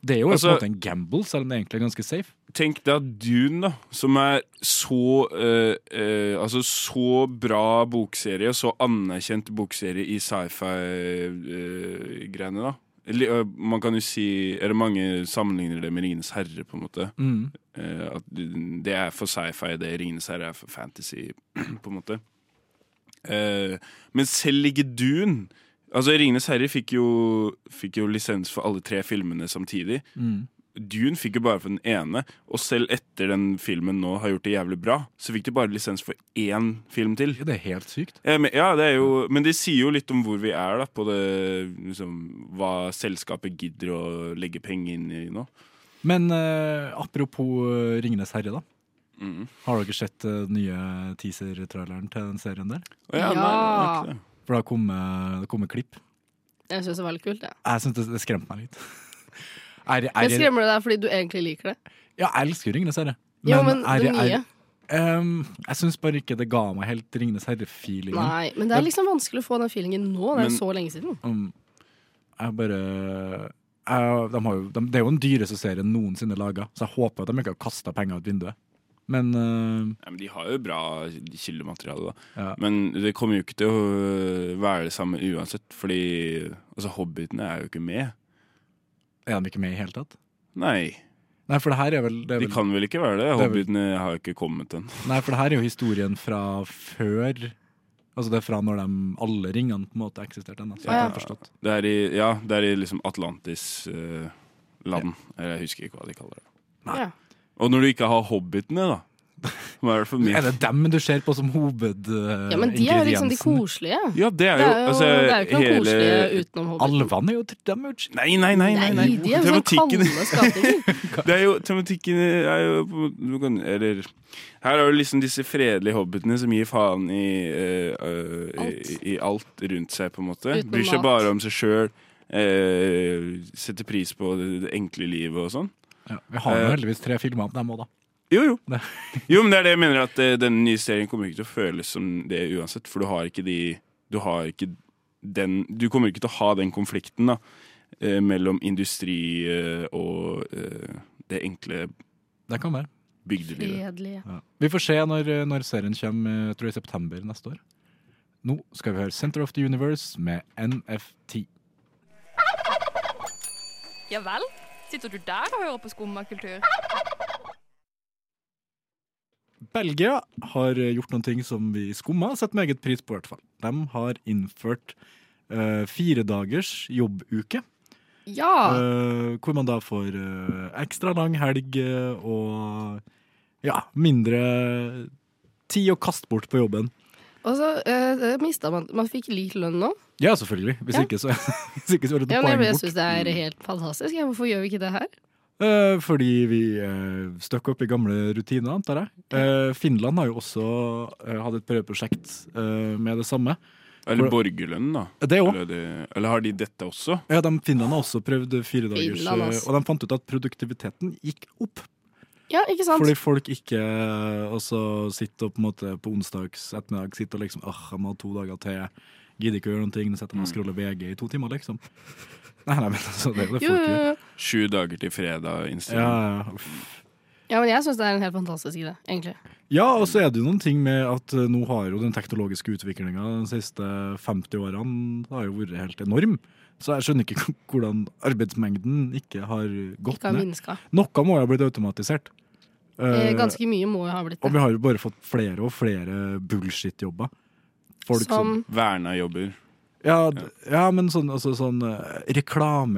Speaker 3: Det er jo på en
Speaker 8: Altså-
Speaker 3: måte en gamble, selv om det egentlig er ganske safe.
Speaker 8: Tenk deg at Dune, da, som er så eh, eh, Altså så bra bokserie, så anerkjent bokserie i sci-fi-greiene, da. Eller, eh, Man kan jo si Eller mange sammenligner det med 'Ringenes herre', på en måte.
Speaker 3: Mm.
Speaker 8: Eh, at det er for sci-fi, det 'Ringenes herre' er for fantasy, <clears throat> på en måte. Eh, men selv ikke Dune Altså, 'Ringenes herre' fikk jo, fikk jo lisens for alle tre filmene samtidig.
Speaker 3: Mm.
Speaker 8: Dune fikk jo bare for den ene, og selv etter den filmen nå har gjort det jævlig bra, så fikk de bare lisens for én film til.
Speaker 3: Ja, det er helt sykt.
Speaker 8: Jeg men- Ja, det er jo, men det sier jo litt om hvor vi er, da, på det liksom, Hva selskapet gidder å legge penger inn i nå.
Speaker 3: Men eh, apropos eh, Ringenes herre, da.
Speaker 8: Mhm.
Speaker 7: Mm.
Speaker 3: Har dere sett eh, den nye teaser-traileren til den serien der?
Speaker 8: Å ja, nei,
Speaker 7: Ja.
Speaker 8: det er ikke det.
Speaker 3: For det har kommet, eh, det kommer klipp.
Speaker 7: Jeg syns det var litt kult, jeg.
Speaker 3: Jeg synes det, det skremte meg litt. <laughs> Er, er,
Speaker 7: Men skremmer det deg fordi du egentlig liker det?
Speaker 3: ja, jeg elsker Ringenes herre.
Speaker 7: Jo, men
Speaker 3: er-
Speaker 7: det
Speaker 3: er-
Speaker 7: nye.
Speaker 3: Ehm, jeg syns bare ikke det ga meg helt Ringenes herre-feelingen.
Speaker 7: Nei, men det er liksom vanskelig å få den feelingen nå. Det er
Speaker 8: Men-
Speaker 7: jo så lenge siden.
Speaker 3: Um, jeg bare jeg, de har jo, de, Det er jo den dyreste serien noensinne laga, så jeg håper at de ikke har kasta penger ut vinduet. Men eh,
Speaker 8: Nei, men de har jo bra kildemateriale, da.
Speaker 3: Ja.
Speaker 8: Men det kommer jo ikke til å øh, være det samme uansett, fordi altså, hobbitene er jo ikke med.
Speaker 3: er de ikke med i hele tatt?
Speaker 8: Nei,
Speaker 3: Nei, for det her er vel, det er
Speaker 8: de
Speaker 3: vel
Speaker 8: kan vel ikke være det?
Speaker 3: Det er vel-
Speaker 8: Hobbitene har jo ikke kommet ennå.
Speaker 3: Nei, for det her er jo historien fra før Altså det er fra når de alle ringene på en måte eksisterte ennå. Så jeg
Speaker 7: Ja.
Speaker 3: har forstått.
Speaker 8: Det er i, ja, det er i liksom Atlantis eh, land. Eller Jeg husker ikke hva de kaller det.
Speaker 3: Nei.
Speaker 7: Ja.
Speaker 8: Og når du ikke har hobbitene, da. Hva er det
Speaker 3: <laughs>
Speaker 8: for
Speaker 3: Er
Speaker 8: mye?
Speaker 3: det dem du ser på som hovedingrediensen?
Speaker 7: Ja, men de er jo liksom de koselige.
Speaker 8: Ja, det er
Speaker 7: Det
Speaker 8: jo,
Speaker 7: er jo,
Speaker 8: altså,
Speaker 7: det er jo ikke noe
Speaker 8: hele-
Speaker 7: koselige utenom Hobbiten.
Speaker 3: Alvene er jo dem er jo ikke-
Speaker 8: Nei, nei, nei. nei,
Speaker 7: Nei,
Speaker 8: nei.
Speaker 7: de er jo sånn
Speaker 8: Tematikken-
Speaker 7: kalde
Speaker 8: <laughs>
Speaker 7: skapninger.
Speaker 8: Det er jo, tematikken er jo på- du kan- Eller Her har du liksom disse fredelige hobbitene som gir faen i, eh, eh,
Speaker 7: Alt.
Speaker 8: i, i alt rundt seg, på en måte.
Speaker 7: Utenom
Speaker 8: Bryr seg
Speaker 7: mat.
Speaker 8: bare om seg sjøl. Eh, setter pris på det, det enkle livet og sånn.
Speaker 3: ja, Vi har jo
Speaker 8: Eh.
Speaker 3: heldigvis tre filmer om dem òg, da.
Speaker 8: Jo, jo.
Speaker 3: Det-
Speaker 8: <laughs> jo, men det er det jeg mener at eh, denne nye serien kommer ikke til å føles som det uansett, for du har ikke de Du har ikke den Du kommer ikke til å ha den konflikten da eh, mellom industri eh, og eh, det enkle
Speaker 3: Det kan være.
Speaker 8: bygdelivet.
Speaker 7: Fredelige.
Speaker 3: Ja. Vi får se når, når serien kommer, jeg tror jeg i september neste år. Nå skal vi høre Center of the Universe med NFT.
Speaker 11: Ja vel? Sitter du der og hører på skummakultur?
Speaker 3: Belgia har eh, gjort noen ting som vi i skumma setter meget pris på, i hvert fall. De har innført eh, fire dagers jobbuke.
Speaker 7: Ja!
Speaker 3: Eh, hvor man da får eh, ekstra lang helg eh, og ja, mindre tid å kaste bort på jobben.
Speaker 7: Og så uh, mista man Man fikk lik lønn nå.
Speaker 3: Ja, selvfølgelig. Hvis
Speaker 7: Ja.
Speaker 3: ikke, så <laughs> Hvis ikke så er det
Speaker 7: Ja,
Speaker 3: et
Speaker 7: men jeg
Speaker 3: poeng
Speaker 7: jeg
Speaker 3: bort. Mm.
Speaker 7: syns det er helt fantastisk. Ja, hvorfor gjør vi ikke det her?
Speaker 3: Eh, fordi vi uh, støkk opp i gamle rutiner, antar jeg. Eh, Finland har jo også eh, hatt et prøveprosjekt eh, med det samme.
Speaker 8: Eller borgerlønn, da.
Speaker 3: Det òg.
Speaker 8: Eller, det- eller har de dette også?
Speaker 3: Ja, de Finnene har også prøvd fire dagers, eh,
Speaker 7: Finland, altså.
Speaker 3: og de fant ut at produktiviteten gikk opp.
Speaker 7: Ja, ikke sant?
Speaker 3: Fordi folk ikke også sitter og på en måte på onsdags ettermiddag sitter og liksom Åh, jeg må ha to dager til. Gidder ikke å gjøre noen ting. Nå setter jeg
Speaker 7: Mm.
Speaker 3: meg og scroller VG i to timer, liksom. <laughs> Nei, nei, men altså, det er jo det
Speaker 7: jo,
Speaker 3: folk
Speaker 7: jo,
Speaker 3: gjør.
Speaker 7: jo.
Speaker 8: Sju dager til fredag innstilling.
Speaker 3: Ja, ja. Uff.
Speaker 7: ja, men jeg syns det er en helt fantastisk idé, egentlig.
Speaker 3: Ja, og så er det jo noen ting med at eh, nå har jo den teknologiske utviklinga de siste 50 årene har jo vært helt enorm. Så jeg skjønner ikke <laughs> hvordan arbeidsmengden ikke har gått
Speaker 7: Ikke har
Speaker 3: ned.
Speaker 7: minska.
Speaker 3: Noe må jo ha blitt automatisert.
Speaker 7: Eh,
Speaker 3: Eh,
Speaker 7: Ganske mye må jo ha blitt
Speaker 3: Og
Speaker 7: det.
Speaker 3: vi har jo bare fått flere og flere bullshit-jobber. Folk som,
Speaker 7: Som-
Speaker 8: Verna jobber.
Speaker 3: ja, d- ja, men sånn, altså, sånn eh,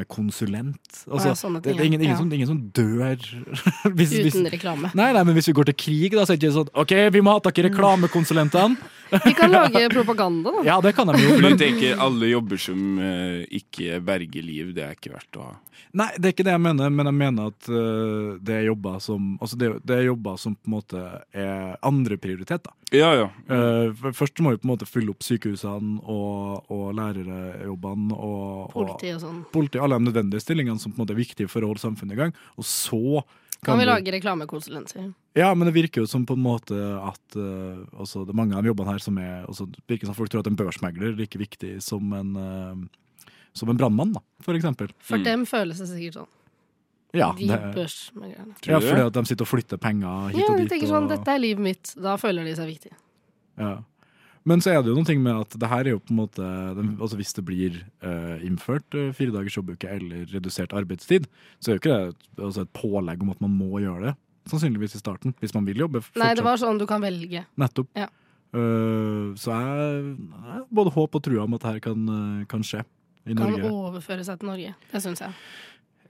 Speaker 3: reklamekonsulent.
Speaker 7: Å
Speaker 3: Altså,
Speaker 7: ja, sånne
Speaker 3: det,
Speaker 7: ting,
Speaker 3: det er ingen,
Speaker 7: ja.
Speaker 3: ingen, som, ingen som dør <laughs> hvis, hvis,
Speaker 7: Uten
Speaker 3: <laughs>
Speaker 7: reklame.
Speaker 3: Nei, nei, men hvis vi går til krig, da, så er det ikke sånn OK, vi må ha tak i reklamekonsulentene.
Speaker 7: Vi kan lage propaganda, da.
Speaker 3: Ja, det kan de jo.
Speaker 8: Men
Speaker 3: Men,
Speaker 8: jeg tenker alle jobber som eh, ikke berger liv, det er ikke verdt å ha.
Speaker 3: <laughs> nei, det er ikke det jeg mener, men jeg mener at eh, det er jobber som Altså, det, er- det er jobber som på en måte er andreprioritet, da.
Speaker 8: Ja, ja.
Speaker 3: Eh, f- først må vi på en måte fylle opp sykehusene og, og lærerjobbene og
Speaker 7: Politi og sånn.
Speaker 3: Politi, alle de nødvendige stillingene som på en måte er viktige for å holde samfunnet i gang. Og så
Speaker 7: Kan vi lage reklamekonsulenter?
Speaker 3: Ja, men det virker jo som på en måte at eh, altså, det er mange av de jobbene her som er altså, Det virker som folk tror at en børsmegler er like viktig som en uh, Som en brannmann, da, for eksempel.
Speaker 7: For dem føles det sikkert sånn.
Speaker 3: Mm. Ja,
Speaker 7: de
Speaker 3: det,
Speaker 7: børsmeglerne.
Speaker 3: ja, fordi at de sitter og flytter penger hit
Speaker 7: Ja,
Speaker 3: og
Speaker 7: de
Speaker 3: dit.
Speaker 7: tenker sånn,
Speaker 3: og,
Speaker 7: dette er livet mitt. Da føler de seg viktige.
Speaker 3: Ja. Men så er det jo noen ting med at det her er jo på en måte den- altså Hvis det blir eh, innført eh, fire dagers jobbuke eller redusert arbeidstid, så er jo ikke det et- altså et pålegg om at man må gjøre det. Sannsynligvis i starten, hvis man vil jobbe.
Speaker 7: Nei, det
Speaker 3: fortsatt.
Speaker 7: var sånn du kan velge.
Speaker 3: Nettopp.
Speaker 7: Ja.
Speaker 3: Eh, så jeg jeg har både håp og trua om at dette kan, eh, kan skje i
Speaker 7: Kan
Speaker 3: Norge.
Speaker 7: overføre seg til Norge. Det syns jeg.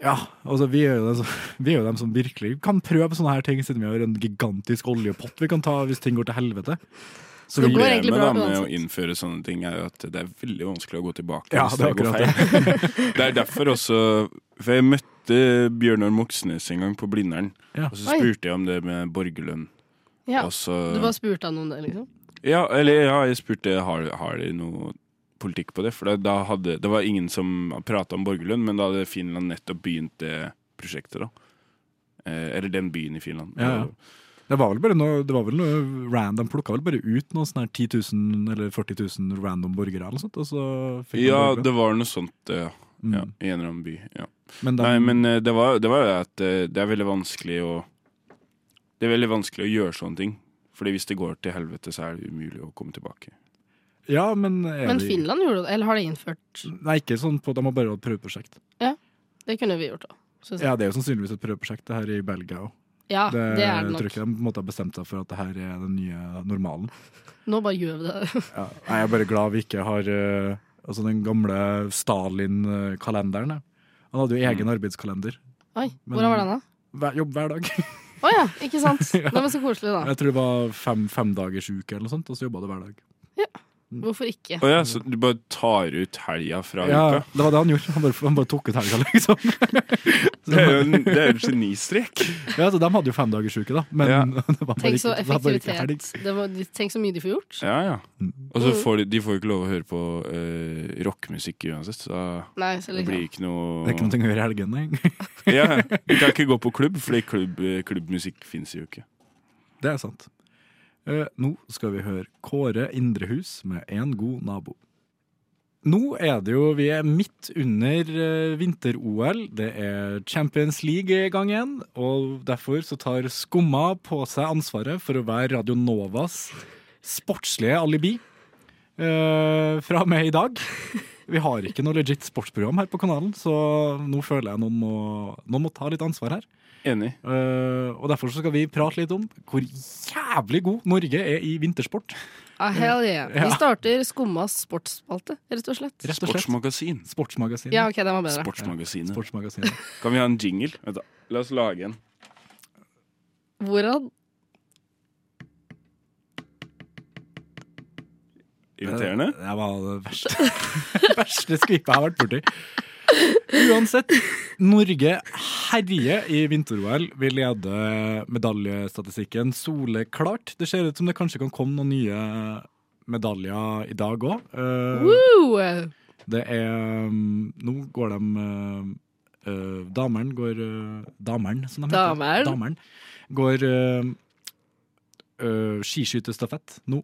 Speaker 3: Ja, altså vi er, jo dem som, <laughs> vi er jo dem som virkelig kan prøve sånne her ting, siden vi har en gigantisk oljepott vi kan ta hvis ting går til helvete. Så vi-
Speaker 8: Problemet da med å innføre sånne ting er jo at det er veldig vanskelig å gå tilbake.
Speaker 3: Ja,
Speaker 8: hvis
Speaker 3: det er
Speaker 8: går
Speaker 3: akkurat
Speaker 8: feil. <laughs> det er derfor også For jeg møtte Bjørnar Moxnes en gang på Blindern,
Speaker 3: Ja.
Speaker 8: og så
Speaker 7: Oi.
Speaker 8: spurte jeg om det med borgerlønn.
Speaker 7: Ja.
Speaker 8: Og så-
Speaker 7: Du bare spurte han om det, liksom?
Speaker 8: Ja, eller ja, jeg spurte har, har dere noe politikk på det. For da, da hadde, det var ingen som prata om borgerlønn, men da hadde Finland nettopp begynt det prosjektet. da. Eh, eller den byen i Finland. Eh,
Speaker 3: Ja, ja. Det var vel bare noe, det var vel noe random, plukka vel bare ut noen sånne her 10 000 eller 40 000 random borgere eller noe sånt, og så fikk
Speaker 8: Ja,
Speaker 3: man borgerlønn.
Speaker 8: det var noe sånt, eh, ja.
Speaker 3: Mm.
Speaker 8: ja. I en eller annen by. ja.
Speaker 3: Men da-
Speaker 8: Nei, men eh, det var det var jo at eh, det er veldig vanskelig å Det er veldig vanskelig å gjøre sånne ting. Fordi hvis det går til helvete, så er det umulig å komme tilbake.
Speaker 3: Ja, men er
Speaker 7: Men
Speaker 3: det-
Speaker 7: Finland gjorde det, eller har de innført
Speaker 3: Nei, ikke sånn på, de har bare hatt prøveprosjekt.
Speaker 7: Ja, det kunne vi gjort òg, syns jeg.
Speaker 3: Ja, det er jo sannsynligvis et prøveprosjekt det her i Belgia òg.
Speaker 7: Ja, det er det
Speaker 3: Jeg
Speaker 7: nok.
Speaker 3: tror ikke de på en måte har bestemt seg for at det her er den nye normalen.
Speaker 7: Nå bare gjør vi det. <laughs>
Speaker 3: Ja. Nei, Jeg er bare glad vi ikke har eh, altså den gamle Stalin-kalenderen. jeg. Han hadde jo egen
Speaker 8: Mm.
Speaker 3: arbeidskalender.
Speaker 7: Oi,
Speaker 3: Men-
Speaker 7: hvordan var den, da?
Speaker 3: Hver, jobb hver dag.
Speaker 7: Å ja, ikke sant? Det var så koselig, da.
Speaker 3: <laughs> Jeg tror det var fem femdagersuke eller noe sånt, og så jobba det hver dag.
Speaker 7: Hvorfor ikke?
Speaker 8: Å ja, så du bare tar ut helga fra
Speaker 3: Ja,
Speaker 8: uka?
Speaker 3: det var det han gjorde. Han bare, han bare tok ut helga,
Speaker 8: <laughs>
Speaker 3: liksom.
Speaker 8: Det er jo en, det er jo en
Speaker 3: <laughs>
Speaker 8: genistrek.
Speaker 3: Ja, så De hadde jo femdagersuke, da. Men
Speaker 8: Ja.
Speaker 3: <laughs> det var bare
Speaker 7: Tenk
Speaker 3: ikke,
Speaker 7: så
Speaker 3: det var bare ikke helg.
Speaker 7: effektivitet. Det var, tenk så mye de får gjort.
Speaker 8: Ja, ja. Og så får de, de får jo ikke lov å høre på eh, rockemusikk uansett, så
Speaker 7: Nei, så
Speaker 8: det
Speaker 7: liksom.
Speaker 8: blir ikke noe
Speaker 3: Det er ikke noe å gjøre i helgene. egentlig.
Speaker 8: Ja, Vi kan ikke gå på klubb, fordi klubb, eh, klubbmusikk fins jo ikke.
Speaker 3: Det er sant. Eh, nå skal vi høre Kåre Indrehus med En god nabo. Nå er det jo Vi er midt under eh, vinter-OL. Det er Champions League i gang igjen. Og derfor så tar Skumma på seg ansvaret for å være Radio Novas sportslige alibi eh, fra og med i dag. Vi har ikke noe legit sportsprogram her på kanalen, så nå føler jeg noen må, noen må ta litt ansvar her.
Speaker 8: Enig.
Speaker 3: Eh, og derfor så skal vi prate litt om hvor jævlig god Norge er i vintersport.
Speaker 7: Ah, hell yeah.
Speaker 3: Ja.
Speaker 7: Vi starter Skummas sportsspalte, rett og slett.
Speaker 3: Rett og slett.
Speaker 8: Sportsmagasin.
Speaker 3: Sportsmagasinet.
Speaker 7: Ja, ok, den var bedre.
Speaker 8: Sportsmagasinet.
Speaker 3: Sportsmagasinet.
Speaker 8: Kan vi ha en jingle? Vent da. La oss lage en.
Speaker 7: Hvordan
Speaker 8: Irriterende?
Speaker 3: Det, det var det verste, <laughs> verste skvipet jeg har vært borti. Uansett, Norge herjer i vinter-OL. Vi leder medaljestatistikken soleklart. Det ser ut som det kanskje kan komme noen nye medaljer i dag Eh, òg.
Speaker 7: Woo!
Speaker 3: Det er um, Nå går de uh, uh, Dameren går uh, Dameren, som de
Speaker 7: Dameren.
Speaker 3: heter. Dameren. Går uh, uh, skiskytestafett nå.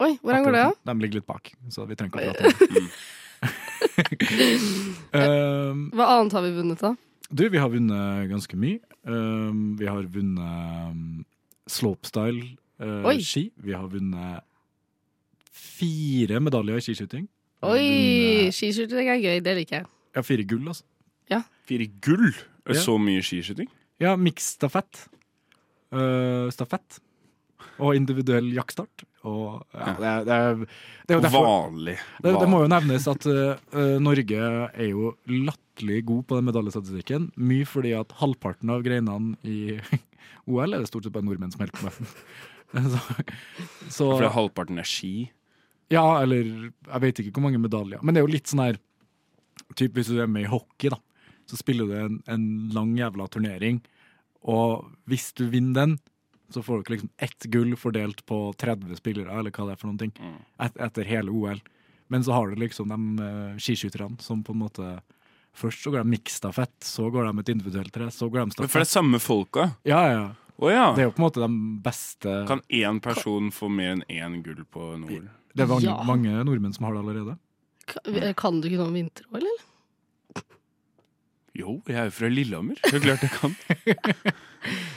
Speaker 7: Oi, hvordan går det, da?
Speaker 3: De ligger litt bak, så vi trenger ikke å prate om det. um,
Speaker 7: Hva annet har vi vunnet, da?
Speaker 3: du, vi har vunnet ganske mye. Um, vi har vunnet um, slopestyle uh,
Speaker 7: Oi.
Speaker 3: ski. Vi har vunnet fire medaljer i skiskyting. Vi har
Speaker 7: Oi,
Speaker 3: vunnet-
Speaker 7: skiskyrting er gøy. Det liker jeg.
Speaker 3: Ja, fire gull, altså.
Speaker 7: Ja.
Speaker 8: Fire gull?
Speaker 3: Ja.
Speaker 8: Er det Så mye skiskyting?
Speaker 3: Ja, miksstafett. Eh, stafett. Og individuell jaktstart. Og ja, det er, det er, det er jo
Speaker 8: Og
Speaker 3: derfor-
Speaker 8: vanlig.
Speaker 3: Det, det må jo nevnes at eh, eh, Norge er jo latterlig god på den medaljestatistikken. Mye fordi at halvparten av greinene i <laughs> OL er det stort sett bare nordmenn som holder på med. <laughs> så, så,
Speaker 8: Fordi halvparten er ski.
Speaker 3: ja, eller jeg vet ikke hvor mange medaljer. Men det er jo litt sånn her typ Hvis du er med i hockey, da, så spiller du en, en lang jævla turnering. Og hvis du vinner den, så får dere liksom ett gull fordelt på 30 spillere, eller hva det er for noen ting,
Speaker 8: Mm.
Speaker 3: et, etter hele OL. Men så har du liksom de eh, skiskytterne som på en måte Først så går de miksstafett, så går de et individuelt tre, så går de
Speaker 8: Men
Speaker 3: stafett.
Speaker 8: For det er samme folka.
Speaker 3: Ja, ja.
Speaker 8: Å ja.
Speaker 3: Det er jo på en måte de beste
Speaker 8: Kan én person få mer enn én gull på Nord?
Speaker 3: Det er mange,
Speaker 7: Ja.
Speaker 3: mange nordmenn som har det allerede.
Speaker 7: Ka- eh, Kan du ikke noe om vinter-OL, eller?
Speaker 8: Jo, jeg er jo fra Lillehammer. Det er klart jeg kan.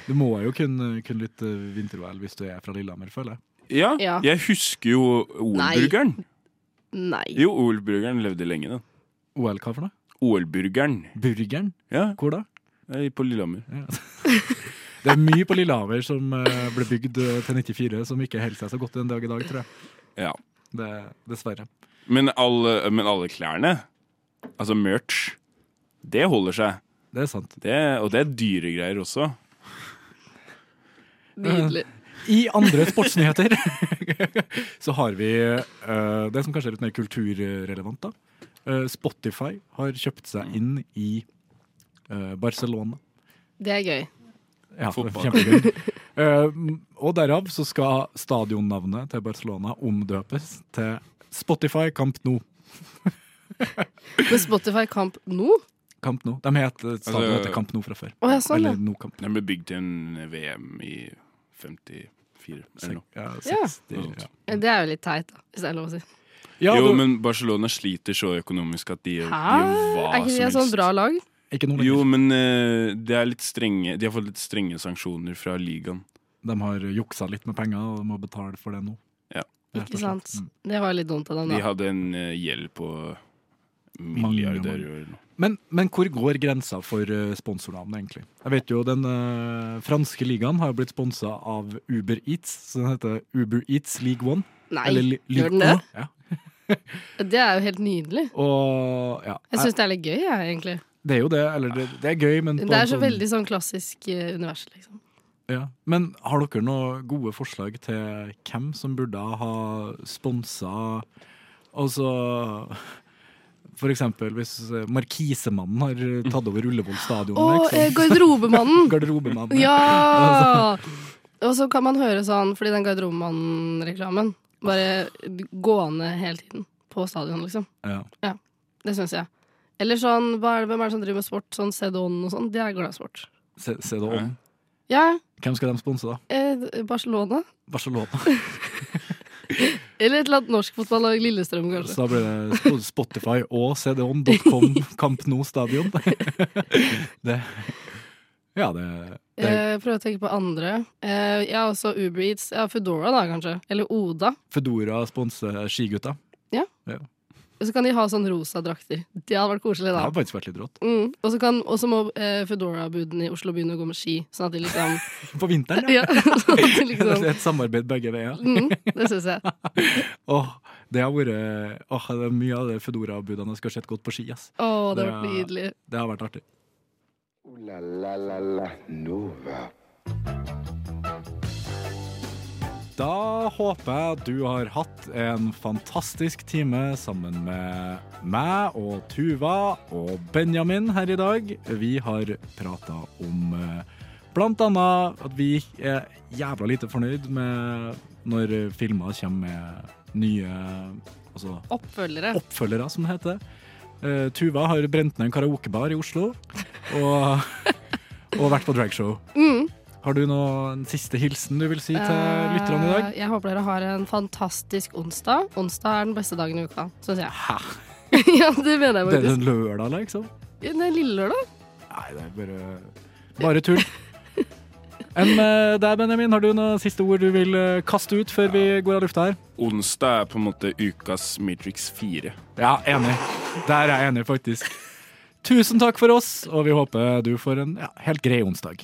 Speaker 3: Du må jo kunne, kunne litt eh, vinter-OL hvis du er fra Lillehammer, føler jeg.
Speaker 8: <laughs> Ja,
Speaker 7: Ja.
Speaker 8: jeg husker jo OL-burgeren.
Speaker 7: Nei.
Speaker 8: Jo, OL-burgeren levde lenge, den.
Speaker 3: OL hva for noe?
Speaker 8: OL-burgeren.
Speaker 3: Burgeren?
Speaker 8: Ja,
Speaker 3: Hvor da?
Speaker 8: det er på Lillehammer.
Speaker 3: <laughs> Det er mye på Lillehammer som eh, ble bygd eh, til 94 som ikke holder seg så godt den dag i dag, tror jeg.
Speaker 8: Ja.
Speaker 3: Det, dessverre.
Speaker 8: Men alle, men alle klærne, altså merch, det holder seg.
Speaker 3: Det er sant.
Speaker 8: Det, og det er dyre greier også.
Speaker 7: Nydelig.
Speaker 3: I andre sportsnyheter <laughs> så har vi eh, det som kanskje er litt mer kulturrelevant, da. Eh, Spotify har kjøpt seg inn i eh, Barcelona.
Speaker 7: Det er gøy.
Speaker 3: Ja,
Speaker 8: Fotball.
Speaker 3: kjempegøy.
Speaker 8: <laughs>
Speaker 3: Eh, og derav så skal stadionnavnet til Barcelona omdøpes til Spotify Camp Nou.
Speaker 7: Men Spotify Kamp nå?
Speaker 3: Camp Nou. De het, stadion
Speaker 8: Altså-
Speaker 3: heter Camp Nou fra før.
Speaker 7: Å ja, sånn, ja.
Speaker 3: Eller Nou Camp.
Speaker 8: Den ble bygd til en VM i 54 eller noe.
Speaker 3: Ja,
Speaker 7: Ja.
Speaker 3: 60, ja.
Speaker 7: Det er jo litt teit, da, hvis det er lov å si.
Speaker 3: Ja,
Speaker 8: jo,
Speaker 3: du-
Speaker 8: men Barcelona sliter så økonomisk at de gjør de
Speaker 7: Hæ?
Speaker 8: gjør hva
Speaker 7: Er ikke
Speaker 8: som
Speaker 7: det et
Speaker 8: helst.
Speaker 7: sånn bra lag?
Speaker 3: ikke noe lenger.
Speaker 8: Jo, men eh, det er litt strenge De har fått litt strenge sanksjoner fra ligaen.
Speaker 3: De har juksa litt med penger, og de må betale for det nå.
Speaker 8: Ja.
Speaker 3: Rett og
Speaker 7: Ikke
Speaker 3: slett. Mm.
Speaker 7: sant? Det var litt dumt av dem,
Speaker 8: De
Speaker 7: da.
Speaker 8: hadde en eh, gjeld på
Speaker 3: Mange,
Speaker 8: milliarder
Speaker 3: mange.
Speaker 8: eller noe.
Speaker 3: Men, men hvor går grensa for eh, sponsornavn, egentlig? Jeg vet jo, Den eh, franske ligaen har jo blitt sponsa av Uber Eats, så den heter Uber Eats League One.
Speaker 7: Nei,
Speaker 3: eller Li-
Speaker 7: gjør den
Speaker 3: League One,
Speaker 7: det?
Speaker 3: Ja.
Speaker 7: Det er jo helt nydelig.
Speaker 3: Og ja,
Speaker 7: Jeg syns det er litt gøy, jeg, egentlig.
Speaker 3: det er jo det. Eller det, det er gøy, men på
Speaker 7: Det er
Speaker 3: en
Speaker 7: så
Speaker 3: sånn-
Speaker 7: veldig sånn klassisk eh, univers, liksom.
Speaker 3: Ja. Men har dere noen gode forslag til hvem som burde ha sponsa Altså For eksempel hvis eh, Markisemannen har tatt over Ullevål stadion.
Speaker 7: Å,
Speaker 3: ikke
Speaker 7: eh,
Speaker 3: sant?
Speaker 7: <laughs> garderobemannen!
Speaker 3: <laughs> Garderobemannen.
Speaker 7: Ja! Og så kan man høre sånn, fordi den Garderobemannen-reklamen bare gående hele tiden på stadion, liksom.
Speaker 3: Ja.
Speaker 7: Det syns jeg. Eller sånn, hva er det, hvem er det som driver med sport? Sånn Sedon og sånn. Det er glad i sport.
Speaker 3: Se, se det om.
Speaker 7: Ja,
Speaker 3: Hvem skal de sponse, da?
Speaker 7: eh, Barcelona.
Speaker 3: Barcelona.
Speaker 7: Eller et eller annet norsk fotballag. Lillestrøm, kanskje.
Speaker 3: Så da blir det Sp- Spotify og cdon.com Camp Nou stadion. <laughs> Det Ja, det, det er
Speaker 7: Eh, prøv å tenke på andre. Eh, jeg har også Uber Eats. Ja, Foodora, da, kanskje. Eller Oda.
Speaker 3: Foodora sponser skigutta.
Speaker 7: Og så kan de ha sånn rosa drakter. Det hadde vært koselig,
Speaker 3: Det
Speaker 7: da.
Speaker 3: har faktisk vært litt rått.
Speaker 7: Mm. Og så kan- og så må eh, Foodora-budene i Oslo begynne å gå med ski, sånn at de
Speaker 3: <laughs>
Speaker 7: liksom
Speaker 3: På vinteren, ja.
Speaker 7: Ja, <laughs> sånn at de
Speaker 3: Det
Speaker 7: liksom
Speaker 3: er et samarbeid begge veier.
Speaker 7: mm, Det syns jeg.
Speaker 3: Åh, det har vært åh, det er Mye av det Foodora-budene skulle ha sett godt på ski. ass.
Speaker 7: Å, det har vært
Speaker 3: Det
Speaker 7: nydelig.
Speaker 3: Det har vært artig.
Speaker 2: Ooh la la la la Nova.
Speaker 3: Da håper jeg at du har hatt en fantastisk time sammen med meg og Tuva og Benjamin her i dag. Vi har prata om eh, blant annet at vi er jævla lite fornøyd med når filmer kommer med nye altså,
Speaker 7: Oppfølgere.
Speaker 3: <laughs> oppfølgere, som det heter. Eh, Tuva har brent ned en karaokebar i Oslo og, <laughs> og vært på dragshow.
Speaker 7: Mm.
Speaker 3: Har du noen siste hilsen du vil si til lytterne i dag?
Speaker 7: Eh, Jeg håper dere har en fantastisk onsdag. Onsdag er den beste dagen i uka, syns jeg. <laughs>
Speaker 3: Hæ?
Speaker 7: ja, det mener jeg
Speaker 3: Det er
Speaker 7: faktisk.
Speaker 3: den lørdag, liksom?
Speaker 7: Den lille lørdag?
Speaker 3: Nei, det er bare Bare tull. Enn med deg, Benjamin, har du noen siste ord du vil eh, kaste ut før vi går av lufta her?
Speaker 8: Onsdag er på en måte ukas Matrix 4.
Speaker 3: Ja, enig. Der er jeg enig, faktisk. Tusen takk for oss, og vi håper du får en ja, helt grei onsdag.